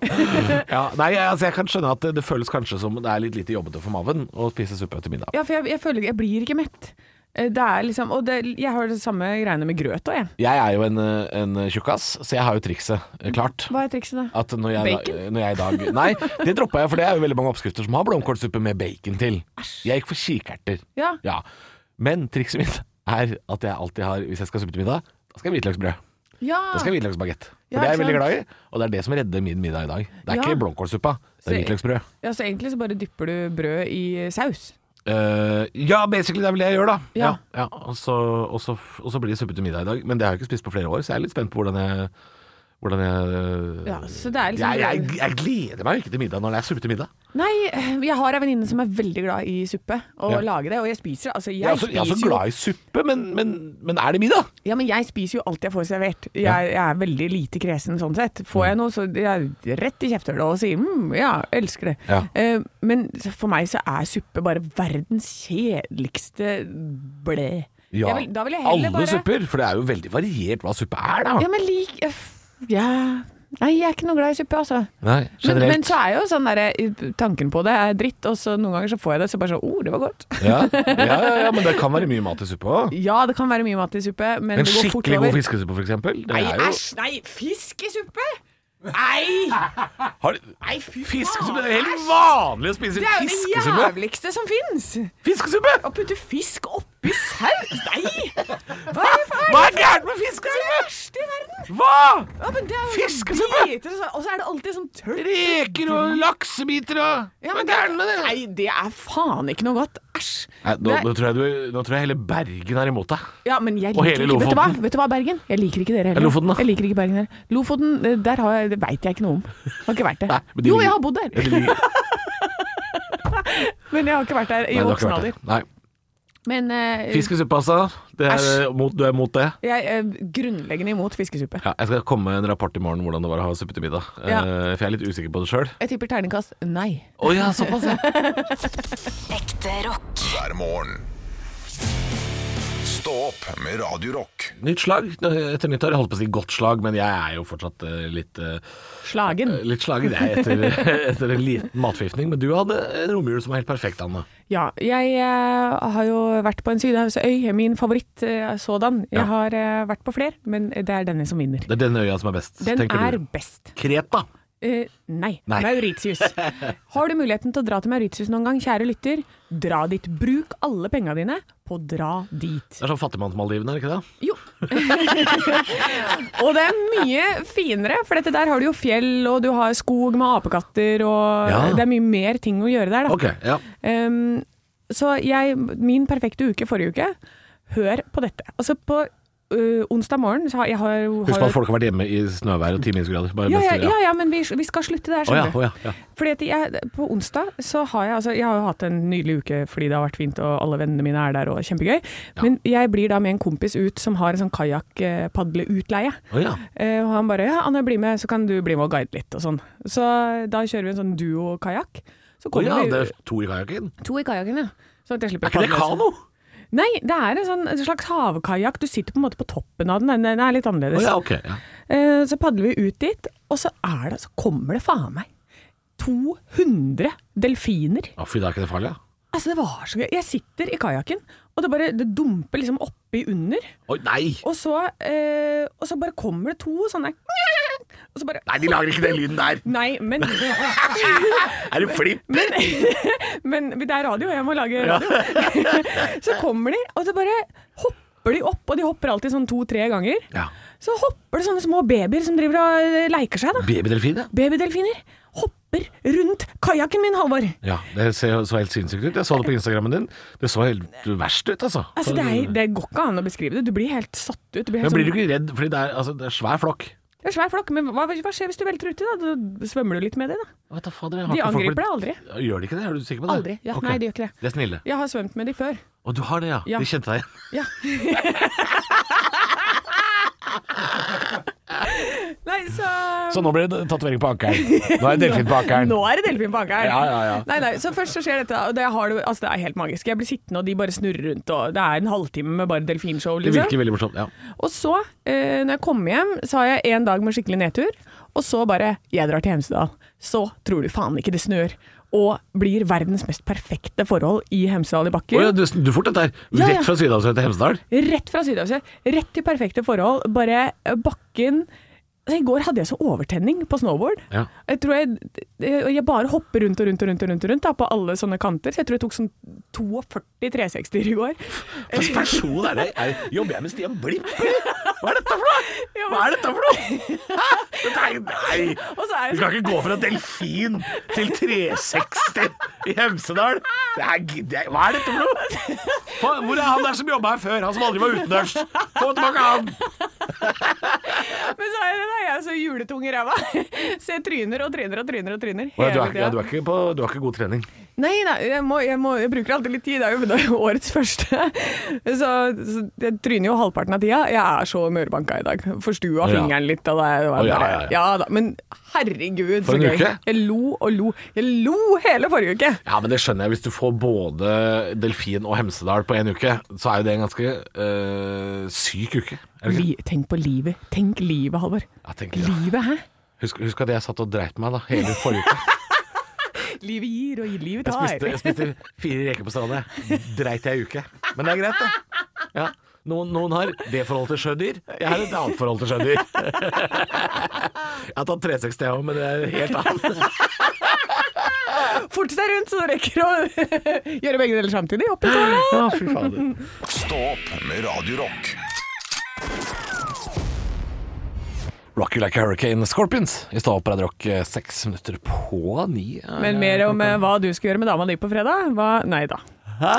Ja, nei, altså jeg kan skjønne at det, det føles kanskje som det er litt lite jobbete for maven å spise suppe til middag.
Ja, for jeg, jeg føler jeg blir ikke mett. Eh, Det er liksom, og det, jeg har det samme greiene med grøt òg, jeg.
Jeg er jo en, eh, en tjukkas, så jeg har jo trikset eh, klart.
Hva er trikset da?
At når jeg,
Bacon?
Da, når jeg i dag Nei, det droppa jeg, for det er jo veldig mange oppskrifter som har blomkålsuppe med bacon til. Jeg gikk for kikerter.
Ja.
Ja. Men trikset mitt er at jeg alltid har, hvis jeg skal ha suppe til middag, da skal jeg ha hvitløksbrød.
Ja.
Da skal jeg ha hvitløksbagett. For
Ah. Ja,
det er jeg
ikke
veldig glad i, og det er det som redder min middag i dag. Det er
Ja.
ikke blomkålsuppa, det er
Så-
hvitløksbrød.
ja, så egentlig så bare dypper du brød i saus.
Eh, ja, basically det er vel det jeg gjør, da.
Ja.
ja, og, så, og, så, og så blir det suppe til middag i dag. Men det har jeg ikke spist på flere år, så jeg er litt spent på hvordan jeg hvordan jeg, eh,
Ja, så det er liksom
jeg, jeg, jeg gleder meg jo ikke til middag når det er suppe til middag.
Nei, eh, jeg har ei venninne som er veldig glad i suppe, og
Ja.
lager det, og jeg spiser det. Altså, jeg,
Jeg er, også, jeg er også
spiser jo
glad i suppe, men, men, men er det middag?
Ja, men jeg spiser jo alt jeg får servert. Jeg, jeg er veldig lite kresen sånn sett. Får
Mm.
jeg noe, så jeg er rett i kjeftehullet og sier mm, ja, elsker det.
Ja.
Eh, men for meg så er suppe bare verdens kjedeligste blæ. Jeg vil, da vil jeg heller
alle
bare
supper. For det er jo veldig variert hva suppe er, da.
Ja, men lik jeg f- ja. Nei, jeg er ikke noe glad i suppe, altså.
Nei,
Men,
generelt.
men så er jo sånn derre Tanken på det er dritt, og så noen ganger så får jeg det, så bare sånn Å, oh, det var godt.
ja, ja, ja, ja, men det kan være mye mat i suppe òg.
Ja, det kan være mye mat i suppe, men
En
det går fort
skikkelig
over.
god fiskesuppe, for eksempel. Det
Nei,
er jo,
æsj! Nei, fisk i suppe! Nei!
har,
Nei, fy
fiskesuppe
faen.
Det er helt vanlig å spise
Det er jo det
fiskesuppe.
jævligste som fins!
Fiskesuppe!
Å putte fisk oppi oppi saus? Nei! Hva er det for
Hva er gærent med fiskesvøp?
verste i verden?
Hva?
Ja, men det er jo
Fiskesuppe!
biter og sånn, Og så er det alltid sånn tørr
Reker og laksebiter og
Ja,
Hva
men
er gærent med det?
Nei, det er faen ikke noe godt. Æsj.
Nei, nå,
Det-
nå, tror jeg du, nå tror jeg hele Bergen er imot deg.
Ja, men jeg
Og
liker
hele
ikke vet du, hva?
Lofoten.
vet du hva, Bergen? Jeg liker ikke dere heller.
Ja, Lofoten, da.
Jeg liker ikke Bergen heller. Lofoten, eh, der har jeg, det veit jeg ikke noe om. Har ikke vært det.
Nei, men de
jo,
ligger-
jeg har bodd der,
Eller, nei,
men jeg har ikke vært der i
det har ikke
voksen
vært det.
alder.
Nei.
Men eh,
Fiskesuppe, altså. Det er,
Æsj.
eh, mot, du er mot det?
jeg er grunnleggende imot fiskesuppe.
Ja, jeg skal komme med en rapport i morgen om hvordan det var å ha suppe til middag.
Ja.
Eh, for jeg er litt usikker på det sjøl.
Jeg tipper terningkast nei.
Å ja, såpass, ja.
Ekte rock.
hver morgen. Stå opp med Radio Rock.
Nytt slag etter nyttår. Jeg holdt på å si godt slag, men jeg er jo fortsatt eh, litt, eh,
Slagen.
litt slagen jeg, etter, etter en liten matforgiftning. Men du hadde en romjul som var helt perfekt, Anne.
Ja, jeg eh, har jo vært på en sydhavsøy, min favoritt eh, sådan. Jeg
Ja.
har eh, vært på flere, men det er denne som vinner.
Det er denne øya som er best,
Den
tenker
er
du.
best.
Kreta.
Eh, nei.
Nei.
Mauritius. Har du muligheten til å dra til Mauritius noen gang, kjære lytter, dra dit. Bruk alle penga dine på å dra dit.
Det er sånn fattigmannsmaldivene, er det ikke det?
Jo. og det er mye finere, for dette der har du jo fjell, og du har skog med apekatter, og
Ja.
det er mye mer ting å gjøre der, da.
Ok, ja.
Ehm, så jeg, min perfekte uke forrige uke, hør på dette. Altså på øh, onsdag morgen så har jeg har,
Husk på
har
at folk har vært hjemme i snøvær og ti minusgrader. Bare
ja, ja,
best-
ja, ja, men vi, vi skal slutte der,
Å ja,
skjønner du.
å ja, ja.
Fordi at jeg, på onsdag så har jeg altså, Jeg har jo hatt en nydelig uke fordi det har vært fint og alle vennene mine er der og kjempegøy. Men jeg blir da med en kompis ut som har en sånn kajakkpadleutleie.
Å ja.
Eh, og han bare 'ja, Anne, bli med, så kan du bli med og guide litt' og sånn. Så da kjører vi en sånn duo-kajakk. Så
Å ja,
kommer
det
vi
er to i kajakken.
to i kajakken, ja. Sånn at jeg slipper
Er ikke det
å padle.
kano?
Nei, det er en, sånn, en slags havkajakk. Du sitter på en måte på toppen av den. Den- Den er litt
Å
annerledes.
ja, ok. Ja.
Eh, Så padler vi ut dit, og så, er det, så kommer det faen meg 200 delfiner.
Å, Fy, da er ikke det farlig, ja.
Altså, det var så gøy. Jeg sitter i kajakken, og det bare det dumper liksom oppi under.
Oi, nei!
Og så, eh, og så bare kommer det to sånne og så bare,
Nei, de lager ikke den lyden der!
Nei, men,
Er det flipp?
men, men det er radio, jeg må lage radio. Så kommer de, og så bare hopper de opp, og de hopper alltid sånn to-tre ganger.
Ja.
Så hopper det sånne små babyer som driver og eh, leker seg, da.
Babydelfin, ja.
Babydelfiner hopper rundt kajakken min, Halvor.
Ja, det ser så helt sinnssykt ut. Jeg så det på Instagrammen din. Det så helt verst ut, altså.
Altså, det, er, det går ikke an å beskrive det. Du blir helt satt ut. Du blir
Men
helt
blir du
sånn,
ikke redd, fordi det er, altså, det er svær flokk?
det er svær flokk, men hva, hva skjer hvis du velter uti? da? Da svømmer du litt med det, da.
Vet da fader, jeg har
De
ikke folk
angriper deg
blitt-
aldri.
Gjør de ikke det? Er du sikker på det?
Aldri. Ja,
Ok.
Nei, de gjør ikke det.
De er snille.
Jeg har svømt med de før.
Å, du har det, ja.
Ja.
De kjente deg igjen.
Ja. Nei, så
Så nå blir det tatovering på ankelen. Nå er det delfin på ankelen.
Nå er det delfin på ankeren.
Ja, ja, ja.
Nei, nei, så først så skjer dette, og det, har du, altså, det er helt magisk. Jeg blir sittende, og de bare snurrer rundt, og det er en halvtime med bare delfinshow.
Det
Liksom.
virker veldig morsomt. Ja.
Og så, eh, når jeg kom hjem, så har jeg en dag med skikkelig nedtur, og så bare Jeg drar til Hemsedal. Så tror du faen ikke det snør. Og blir verdens mest perfekte forhold i Hemsedal i bakken.
Å ja, du, du fort dette her.
Ja, ja.
Rett fra Sydhavsøy til Hemsedal.
Rett fra Sydhavsøy, rett til perfekte forhold. Bare eh, bakken Altså, I går hadde jeg så overtenning på snowboard.
Ja.
Jeg tror jeg, jeg jeg bare hopper rundt og rundt og rundt, og rundt, og rundt da, på alle sånne kanter. Så jeg tror jeg tok sånn 42 360-er i går.
Hva slags person er det? Er, jobber jeg med Stian Blipp? eller? Hva er dette for noe?
Ja,
Hva
men-
er dette for noe? Hæ? Dette er- Nei!
Og så er
Du
jeg
skal ikke gå fra delfin til 360 i Hemsedal. Det her gidder jeg Hva er dette for noe? Få- Hvor er han der som jobba her før? Han som aldri var utendørs. Få tilbake han.
så, men så er jeg, da, jeg er så juletung i ræva. Så jeg tryner og tryner og tryner og tryner.
Du
hele
er,
tida.
ikke god trening.
Nei, nei jeg, må, jeg, må, jeg bruker alltid litt tid. Det er jo- det er jo årets første. Så, så jeg tryner jo halvparten av tida. Jeg er så mørebanka i dag. Forstua
Ja.
fingeren litt. Og det, er- det var
Å, ja,
bare,
ja, ja.
da, men herregud,
For
så
en
gøy.
uke.
Jeg lo og lo. Jeg lo hele forrige uke.
Ja, men Det skjønner jeg. Hvis du får både delfin og Hemsedal på én uke, så er jo det en ganske øh, syk uke. Er det ikke?
Li, tenk på livet. Tenk livet, Halvor.
Ja, tenk litt, ja.
Livet, hæ?
Husk, husk at jeg satt og dreit meg da, hele forrige uke.
Livet gir, og livet
Jeg spiste,
tar.
jeg spiste fire reker på stranda. Dreit jeg i uke. Men det er greit, det. Ja. Noen, noen har det forholdet til sjødyr. Jeg har et annet forhold til sjødyr. Jeg har tatt 360 jeg òg, men det er helt annet.
forte seg rundt, så du rekker å gjøre begge deler samtidig. Hopp i tårnet.
Ja, fy fader.
Stå opp med Radio Rock.
Rock you like a hurricane Scorpions i stad på Radio Rock. eh, Seks minutter på ni. eh,
Men mer om eh, hva du skal gjøre med dama di på fredag? Hva? Nei da.
Hva?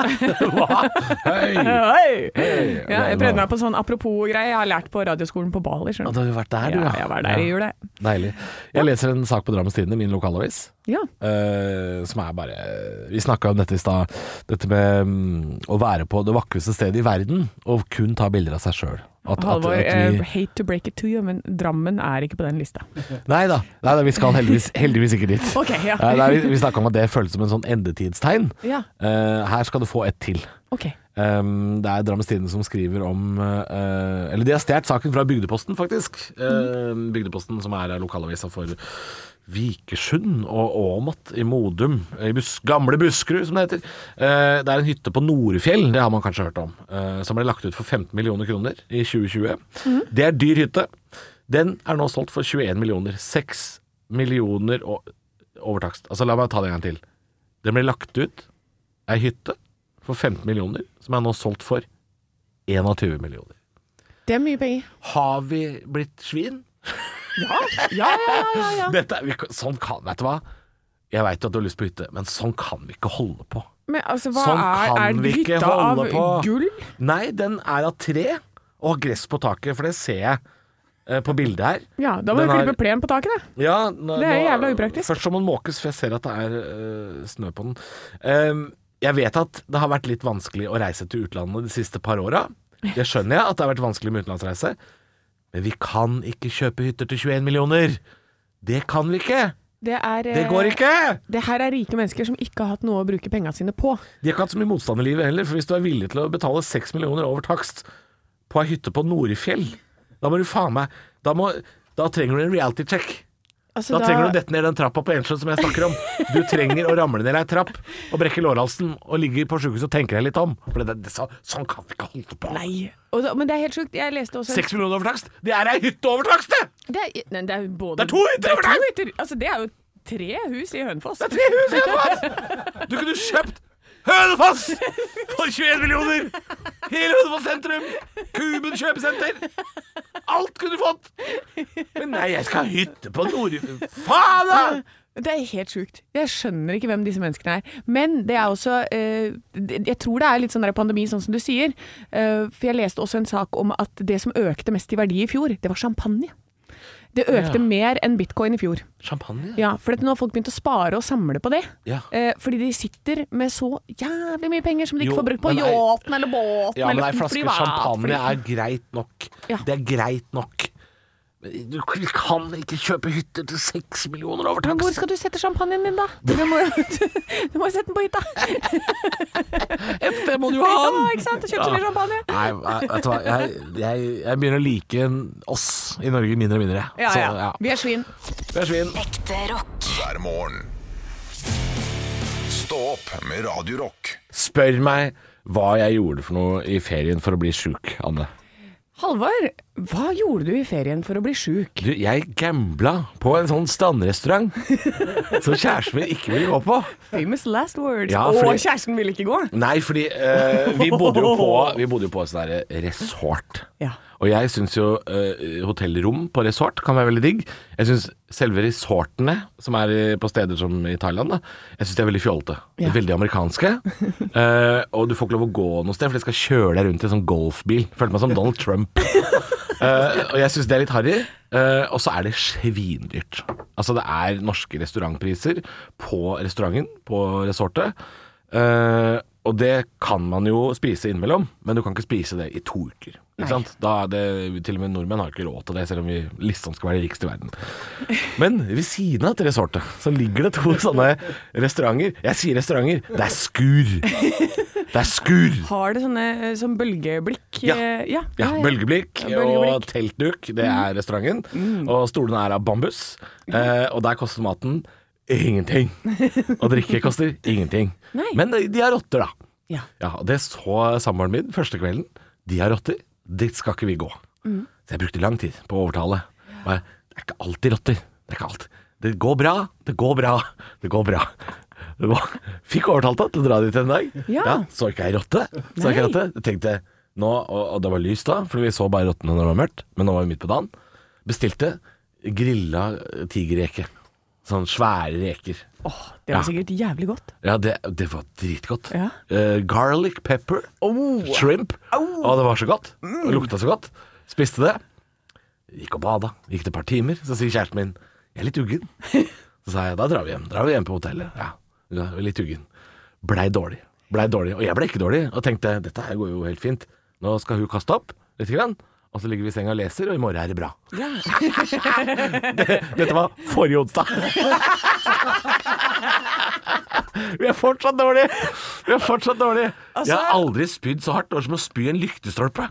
Hei!
Hei!
Hei.
Ja, jeg prøvde meg på sånn apropos-greie jeg har lært på radioskolen på Bali.
Ja,
skjønner
Da
du.
har vi vært der, du,
Ja, jeg var der i jula. jeg.
Deilig. Jeg leser en sak på Drammens Tidende, min lokalavis.
Ja.
eh, som er bare Vi snakka om dette i stad. Dette med mm, å være på det vakreste stedet i verden og kun ta bilder av seg sjøl.
Halvor, eh, hate to break it to you, men Drammen er ikke på den lista.
Nei da, nei da vi skal heldigvis, heldigvis ikke dit.
Ok, ja.
Eh, nei, vi vi snakka om at det føles som en sånn endetidstegn.
Ja.
Eh, her skal du få et til.
Ok.
Um, det er Drammens Tidende som skriver om eh, Eller de har stjålet saken fra Bygdeposten, faktisk. Eh, Bygdeposten som er lokalavisa for Vikersund og Åmot i Modum. I Bus gamle Buskerud, som det heter. Eh, det er en hytte på Norefjell, det har man kanskje hørt om. eh, som ble lagt ut for 15 millioner kroner i 2020. Det er dyr hytte. Den er nå solgt for 21 millioner. 6 millioner og overtakst. Altså, la meg ta det en gang til. Den ble lagt ut ei hytte for 15 millioner, som er nå solgt for 21 millioner.
Det er mye penger.
Har vi blitt svin?
Ja, ja, ja. ja, ja.
Dette, er- vi, kan- sånn kan, vet du hva? Jeg veit at du har lyst på hytte, men sånn kan vi ikke holde på.
Men altså, hva
Sånn
er,
kan
er
vi ikke
hytta av
holde på.
gull?
Nei, den er av tre og har gress på taket, for det ser jeg eh, på bildet her.
Ja, da må
Den
du
har-
klippe plenen på taket, da.
Ja, nå-
Det er
nå-
jævla upraktisk.
Først så må den måkes, for jeg ser at det er øh, snø på den. Ehm, jeg vet at det har vært litt vanskelig å reise til utlandet de siste par åra. Det skjønner jeg, at det har vært vanskelig med utenlandsreise. Men vi kan ikke kjøpe hytter til 21 millioner! Det kan vi ikke!
Det, er, eh,
Det går ikke!
Det her er rike mennesker som ikke har hatt noe å bruke pengene sine på.
De har ikke hatt så mye motstand i livet heller, for hvis du er villig til å betale 6 millioner over takst på ei hytte på Norefjell, da må du faen meg Da, må, da trenger du en reality check.
Altså,
Da trenger du å dette ned den trappa på Ensjøen som jeg snakker om. Du trenger å ramle ned ei trapp og brekke lårhalsen og ligge på sjukehuset og tenke deg litt om. For det, det, så, sånn kan vi ikke holde på.
Nei. sånn- Og da, men det er helt sjukt. Jeg leste også
Seks millioner over takst? Det er ei hytte over takst, det!
Det er, nei, det er, både,
Det er to hytter
Det er,
over der!
to hytter. Altså, det er jo tre hus i Hønefoss.
Det er tre hus i Hønefoss! Du kunne kjøpt Hønefoss for 21 millioner! Hele Hønefoss sentrum! Kuben kjøpesenter! Alt kunne du fått! Men nei, jeg skal ha hytte på Nord... Faen, da!
Eh, Det er helt sjukt. Jeg skjønner ikke hvem disse menneskene er. Men det er også eh, det- Jeg tror det er litt sånn der pandemi, sånn som du sier. Eh, for jeg leste også en sak om at det som økte mest i verdi i fjor, det var champagne. Det økte
Ja.
mer enn bitcoin i fjor.
Champagne?
Ja, for at nå har folk begynt å spare og samle på det.
Ja.
Eh, fordi de sitter med så jævlig mye penger som de ikke
Jo,
får brukt på
men ei-
yachten eller båten
Ja, men ei
eller
flaske
privat-
champagne er greit nok.
Ja.
Det er greit nok. Men Du kan ikke kjøpe hytter til seks millioner over
Men hvor
takst.
skal du sette champagnen din, da? Du må jo du må jo sette den på hytta.
Det må du jo
Ja,
ha! den.
ikke sant? Kjøpt så mye champagne.
Nei, nei, vet du hva. Jeg, jeg, jeg begynner å like oss i Norge mindre og mindre.
Ja,
Så,
ja. Vi er svin.
Vi er svin.
Ekte rock.
hver morgen. Stå opp med Radio Rock.
Spør meg hva jeg gjorde for noe i ferien for å bli sjuk, Anne.
Halvor, hva gjorde du i ferien for å bli sjuk?
Du, jeg gambla på en sånn strandrestaurant som kjæresten min ikke ville gå på.
Famous last words.
Ja,
Å,
fordi-
kjæresten ville ikke gå.
Nei, fordi eh, vi bodde jo på Vi bodde jo på et sånt der resort.
Ja.
Og jeg syns jo eh, hotellrom på resort kan være veldig digg. Jeg syns selve resortene, som er i- på steder som i Thailand, da, jeg syns de er veldig fjollete. De
Ja.
er Veldig amerikanske. Eh, og du får ikke lov å gå noe sted, for de skal kjøre deg rundt i en sånn golfbil. Følte meg som Donald Trump. Eh, og jeg syns det er litt harry. Eh, og så er det svindyrt. Altså, det er norske restaurantpriser på restauranten, på resortet. Eh, og det kan man jo spise innimellom, men du kan ikke spise det i to uker. Ikke sant? Da er det, til og med nordmenn har ikke råd til det, selv om vi liksom skal være rikest i verden. Men ved siden av dette resortet så ligger det to sånne restauranter. Jeg sier restauranter, det er skur! Det er skur!
Har det sånne eh, sånn bølgeblikk?
Ja.
eh, ja.
Ja, bølgeblikk,
Ja, bølgeblikk. Mm.
og teltduk, det er restauranten. Og stolene er av bambus. Eh, og der koster maten ingenting. Og drikke koster ingenting.
Nei.
Men de, de har rotter, da.
Ja.
Ja, og Det så samboeren min første kvelden. De har rotter, dit skal ikke vi gå.
Mm.
Så jeg brukte lang tid på å overtale. Og jeg, det er ikke alltid rotter. Det er ikke alt. Det går bra, det går bra, det går bra. var- Fikk overtalt deg til å dra dit en dag.
Ja.
så ikke ei rotte. Så ikke ei rotte. Jeg Tenkte nå, og, og det var lyst da, for vi så bare rottene når det var mørkt, men nå var vi midt på dagen. Bestilte grilla tigerreke. Sånn svære reker.
Åh, det var
Ja.
sikkert jævlig godt.
Ja, det, det var dritgodt.
Ja.
Eh, garlic pepper, shrimp. Og det var så godt. Det lukta så godt. Spiste det. Gikk og bada. Gikk det et par timer. Så sier kjæresten min jeg er litt uggen. Så sa jeg da drar vi hjem. Drar vi hjem på hotellet. Ja, ja jeg er litt uggen. Blei dårlig. Blei dårlig. Og jeg ble ikke dårlig. Og tenkte dette her går jo helt fint. Nå skal hun kaste opp litt. Grann. Og så ligger vi i senga og leser, og i morgen er det bra. det, dette var forrige onsdag. Vi er fortsatt dårlige! Vi er fortsatt dårlige.
Altså-
jeg har aldri spydd så hardt. Det var som å spy i en lyktestolpe.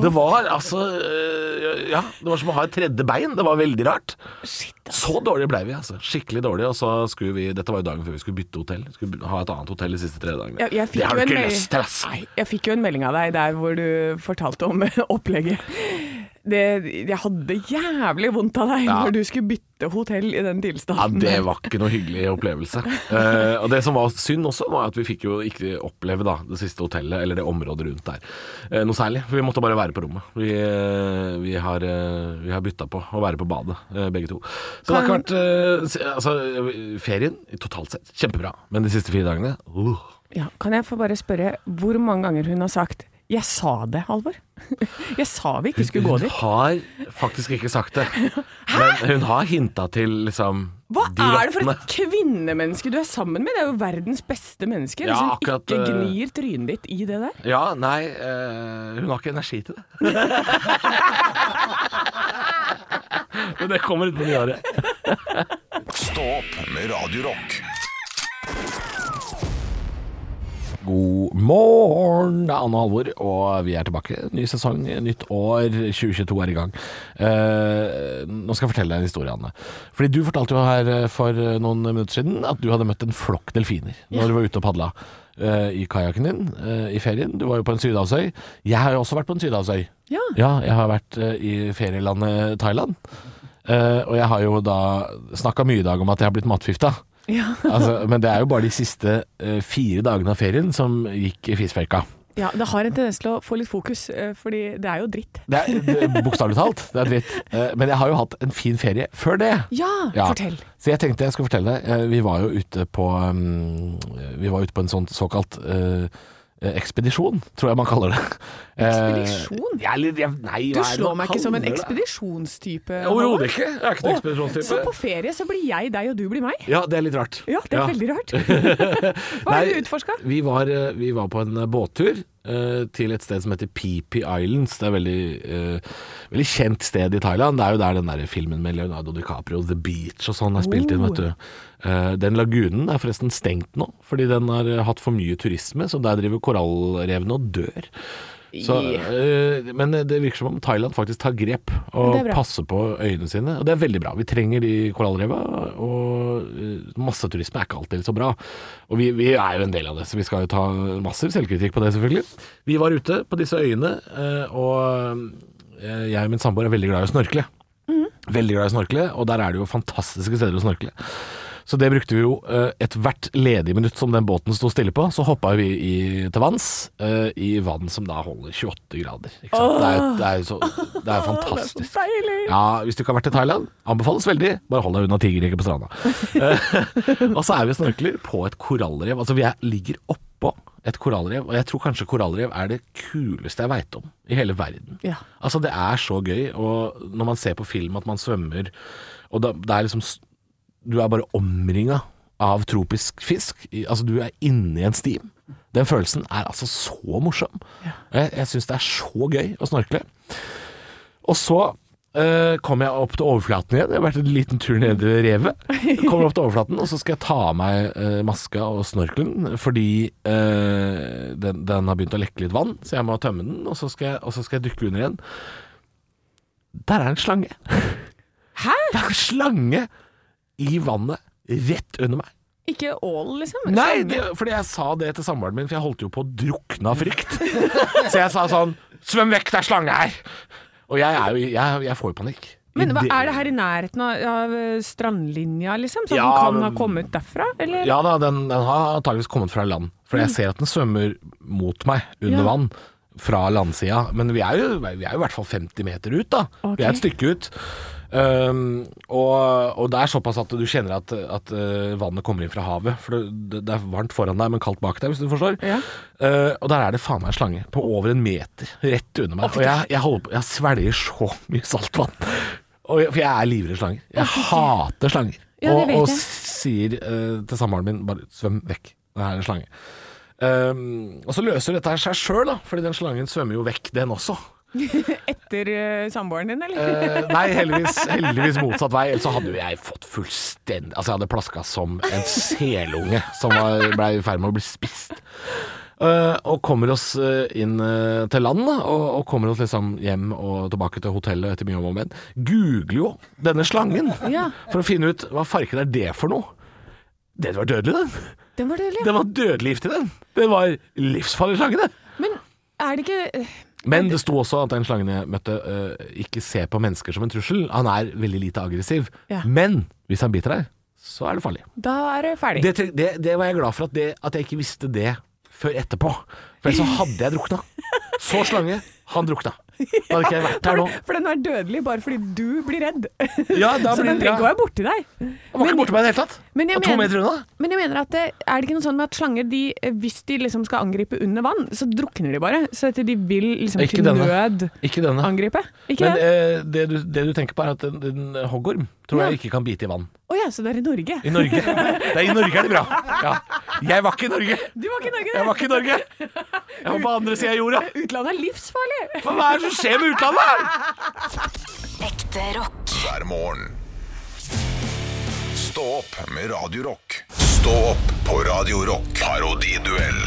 Det var altså øh, Ja, det var som å ha et tredje bein. Det var veldig rart. Så dårlige blei vi, altså. Skikkelig dårlige. Og så skulle vi Dette var jo dagen før vi skulle bytte hotell. Skulle by- ha et annet hotell de siste tre dagene.
Jeg- jeg fikk
det har du
jo en
ikke
mail-
lyst til, ass!
Nei, jeg fikk jo en melding av deg der hvor du fortalte om opplegget. Det, jeg hadde jævlig vondt av deg
Ja.
når du skulle bytte hotell i den
Ja,
tilstanden.
det var ikke noe hyggelig opplevelse. Eh, og det som var synd også, var at vi fikk jo ikke oppleve da, det siste hotellet, eller det området rundt der, eh, noe særlig. For vi måtte bare være på rommet. Vi, eh, vi har, eh, vi har bytta på å være på badet, eh, begge to. Så det har ikke vært eh, se- altså, eh, Ferien totalt sett kjempebra, men de siste fire dagene uh.
Ja, kan jeg få bare spørre hvor mange ganger hun har sagt 'jeg sa det, Halvor'? jeg sa vi ikke skulle
Hun
gå dit.
har faktisk ikke sagt det. Men hun har hinta til liksom
Hva
de
er det for
rottene.
et kvinnemenneske du er sammen med? Det er jo verdens beste menneske.
Ja,
hvis hun
akkurat,
ikke
eh,
gnir trynet ditt i det der.
Ja, nei, eh, hun har ikke energi til det. Men det kommer utpå nyåret.
Stå opp med Radio Rock.
God morgen, det er Anne og Halvor, og vi er tilbake. Ny sesong, nytt år. 2022 er i gang. Eh, nå skal jeg fortelle deg en historie, Anne. Fordi du fortalte jo her eh, for noen minutter siden at du hadde møtt en flokk delfiner når du var ute og padla eh, i kajakken din eh, i ferien. Du var jo på en sydhavsøy. Jeg har jo også vært på en sydhavsøy.
Ja.
Ja, jeg har vært eh, i ferielandet Thailand. Eh, og jeg har jo da snakka mye i dag om at jeg har blitt matforgifta.
Ja.
Altså, men det er jo bare de siste eh, fire dagene av ferien som gikk i fisfekka.
ja, det har en tendens til å få litt fokus, eh, fordi det er jo dritt.
Det er det- bokstavelig talt. Det er dritt. Eh, men jeg har jo hatt en fin ferie før det.
Ja,
Ja.
fortell.
Så jeg tenkte jeg skulle fortelle deg. eh, Vi var jo ute på um, Vi var ute på en sånn såkalt eh, eh, ekspedisjon, tror jeg man kaller det. Eh,
Ekspedisjon?
jeg er litt- jeg- nei,
Du
hva er det
slår
man
meg ikke som en
kaller det?
ekspedisjonstype. Halvor.
Overhodet ikke. Jeg er ikke en
Å, Så på
ekspedisjonstype.
ferie så blir jeg deg, og du blir meg?
Ja, det er litt rart.
Ja, det er veldig rart. Hva har
Nei,
du utforska?
Vi var, eh, vi var på en eh, båttur eh, til et sted som heter Phi Islands. Det er et veldig, eh, veldig kjent sted i Thailand. Det er jo der den der filmen med Leonardo DiCaprio, The Beach og sånn, er spilt inn,
Oh.
vet du. Eh, den lagunen er forresten stengt nå, fordi den har eh, hatt for mye turisme, så der driver korallrevene og dør. Så, eh, men det virker som om Thailand faktisk tar grep og
Det er bra.
passer på øyene sine. Og det er veldig bra. Vi trenger de korallreva, og eh, masseturisme er ikke alltid så bra. Og vi, vi er jo en del av det, så vi skal jo ta massiv selvkritikk på det, selvfølgelig. Vi var ute på disse øyene, eh, og eh, jeg og min samboer er veldig glad i å snorkle. Veldig glad i å snorkle, og der er det jo fantastiske steder å snorkle. Så det brukte vi jo eh, ethvert ledige minutt som den båten sto stille på, så hoppa vi i, til vanns eh, i vann som da holder 28 grader. Ikke sant? Det er jo det er jo så, det er jo fantastisk.
Deilig!
Ja, hvis du ikke har vært i Thailand, anbefales veldig. Bare hold deg unna tigerreker på stranda. Eh, og så er vi og snorkler på et korallrev. Altså, vi er, ligger oppå et korallrev, og jeg tror kanskje korallrev er det kuleste jeg veit om i hele verden.
Ja.
Altså, det er så gøy, og når man ser på film at man svømmer, og da, det er liksom s- Du er bare omringa av tropisk fisk. I- Altså, du er inni en stim. Den følelsen er altså så morsom. Jeg, jeg syns det er så gøy å snorkle. Og så eh, kom jeg opp til overflaten igjen. Jeg har vært en liten tur nede ved revet. Kommer opp til overflaten, og så skal jeg ta av meg eh, maska og snorkelen, fordi eh, den, den har begynt å lekke litt vann, så jeg må tømme den, og så skal jeg, og så skal jeg dykke under igjen. Der er en slange.
Hæ?
Det er en slange i vannet rett under meg.
Ikke ål, liksom?
Nei,
Slange.
det, fordi jeg sa det til samboeren min, for jeg holdt jo på å drukne av frykt. Så jeg sa sånn Svøm vekk, det er slange her! Og jeg, er jo, jeg, jeg får jo panikk.
Men hva,
Ide-
er det her i nærheten av, av eh, strandlinja, liksom? Så
Ja,
den kan ha
men-
kommet derfra, eller? Mm.
Ja da, den, den har antageligvis kommet fra land. For jeg ser at den svømmer mot meg under
Ja.
vann fra landsida. Men vi er, jo, vi er jo i hvert fall 50 meter ut, da. Vi er
Ok.
et stykke ut. Um, og, og det er såpass at du kjenner at, at uh, vannet kommer inn fra havet. For det, det er varmt foran deg, men kaldt bak deg, hvis du forstår.
Ja.
Uh, og der er det faen meg en slange på over en meter rett under meg. Og jeg, jeg, holder på, jeg svelger så mye saltvann. Og jeg, for jeg er livredd slanger. Jeg hater slanger.
Ja, det
og,
vet
og
jeg.
sier eh, til samboeren min bare svøm vekk, det her er en slange. Ehm, og så løser dette her seg sjøl, da, fordi den slangen svømmer jo vekk, den også.
Etter eh, samboeren din, eller?
Eh, nei, heldigvis, heldigvis motsatt vei, ellers så hadde jo jeg fått fullstendig Altså, jeg hadde plaska som en selunge som var- ble i ferd med å bli spist. Eh, og kommer oss eh, inn eh, til land, da, og, og kommer oss liksom hjem og tilbake til hotellet etter mye om og men. Googler jo denne slangen
Ja.
for å finne ut hva farken er det for noe. Den var dødelig, den.
Den var dødelig.
Den var dødelig giftig, den. Den var livsfarlig slange, det.
Men er det ikke eh,
Men det sto også at den slangen jeg møtte, eh, ikke ser på mennesker som en trussel. Han er veldig lite aggressiv.
Ja.
Men hvis han biter deg, så er det farlig.
Da er det ferdig.
Det, det, det var jeg glad for at, det, at jeg ikke visste det før etterpå. For ellers så hadde jeg drukna. Så slange, han drukna. Da hadde ikke jeg vært her nå.
For den er dødelig bare fordi du blir redd.
Ja, da
Så
blir-
den trenger ikke å
ja.
være borti deg.
Han var ikke borte meg i det hele tatt.
men jeg
Og to
mener-
meter unna.
Men jeg mener at det, er det ikke noe sånn med at slanger, de, eh, hvis de liksom skal angripe under vann, så drukner de bare. Så at de vil liksom
Ikke
til
denne.
nød
Ikke denne.
angripe. Ikke
Men
det?
eh, det, du, det du tenker på er at en, en hoggorm tror
Ja.
jeg ikke kan bite i vann.
Å ja, så det er i Norge.
I Norge. Det er, I Norge er det bra. Ja. Jeg var ikke i Norge.
Du var ikke i Norge,
Jeg var ikke i Norge. Jeg var på andre sida av jorda.
Utlandet er livsfarlig!
Men hva er det som skjer med utlandet? her?
Ekte rock.
hver morgen. Stå opp med Radio Rock. Stå opp på Radio Rock. Parodiduell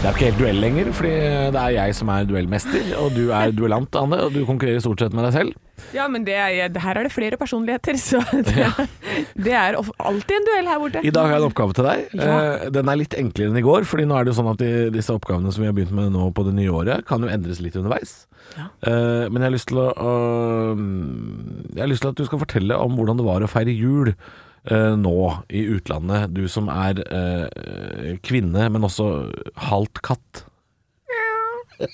Det er ikke helt duell lenger, fordi det er jeg som er duellmester, og du er duellant, Anne, og du konkurrerer stort sett med deg selv.
Ja, men det er, det her er det flere personligheter, så det, det er of- alltid en duell her borte.
I dag har jeg en oppgave til deg.
Ja.
Eh, Den er litt enklere enn i går, fordi nå er det jo sånn at de, disse oppgavene som vi har begynt med nå på det nye året, kan jo endres litt underveis. Eh, Men jeg har lyst til å, å Jeg har lyst til at du skal fortelle om hvordan det var å feire jul. eh, nå i utlandet, du som er eh, kvinne, men også halvt katt.
Nei,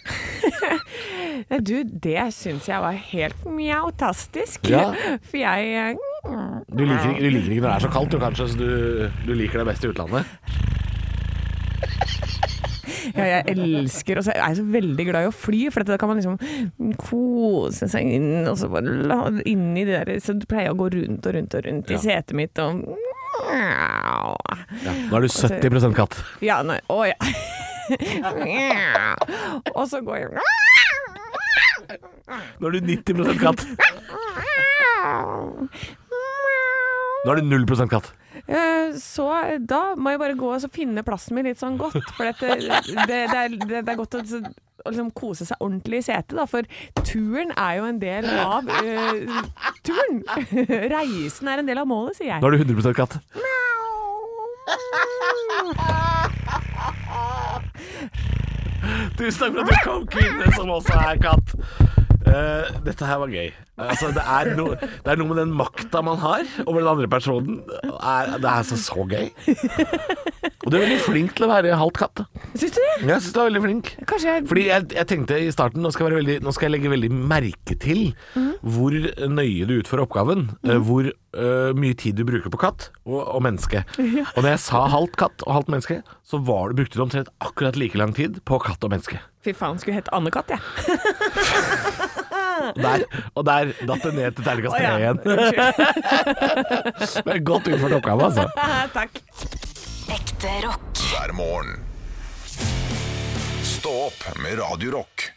Eh, Du, det syns jeg var helt mjautastisk.
Ja.
For jeg eh, mm.
Du liker, ikke- du liker ikke når det er så kaldt, du kanskje, så du, du liker deg best i utlandet.
Ja, jeg elsker Og så er jeg så veldig glad i å fly, for at da kan man liksom kose seg inn, og så bare la inni det der Så pleier jeg å gå rundt og rundt og rundt i setet mitt og
Nå er du 70 katt.
Ja, nei, å ja. Og så går jeg
Nå er du 90 katt. Nå er du 0 katt.
Eh, Så da må jeg bare gå og så finne plassen min litt sånn godt. For dette, det, det, er, det, det er godt å, så- å liksom kose seg ordentlig i setet, da. For turen er jo en del av eh, turen. Reisen er en del av målet, sier
Nå er
jeg.
du 100 katt. Tusen takk for at du kom, kvinne som også er katt. Eh, dette her var gøy. Altså, det, er no, det er noe med den makta man har over den andre personen. Er, det er altså så gøy. Og du er veldig flink til å være halvt katt.
Syns du det?
Jeg syns du er veldig flink.
Kanskje jeg
Fordi jeg, jeg tenkte i starten nå skal, jeg være veldig, nå skal jeg legge veldig merke til hvor nøye du utfører oppgaven.
Mhm.
eh, Hvor eh, mye tid du bruker på katt og, og menneske. Og når jeg sa halvt katt og halvt menneske, så var det, brukte du omtrent akkurat like lang tid på katt og menneske.
Fy faen, skulle jeg hett Anne-Katt, jeg.
Og der, og der datt det ned til terningkast
Å, ja.
tre igjen. Det er godt utført oppgave, altså.
Takk.
Ekte rock.
hver morgen. Stå opp med Radio Rock.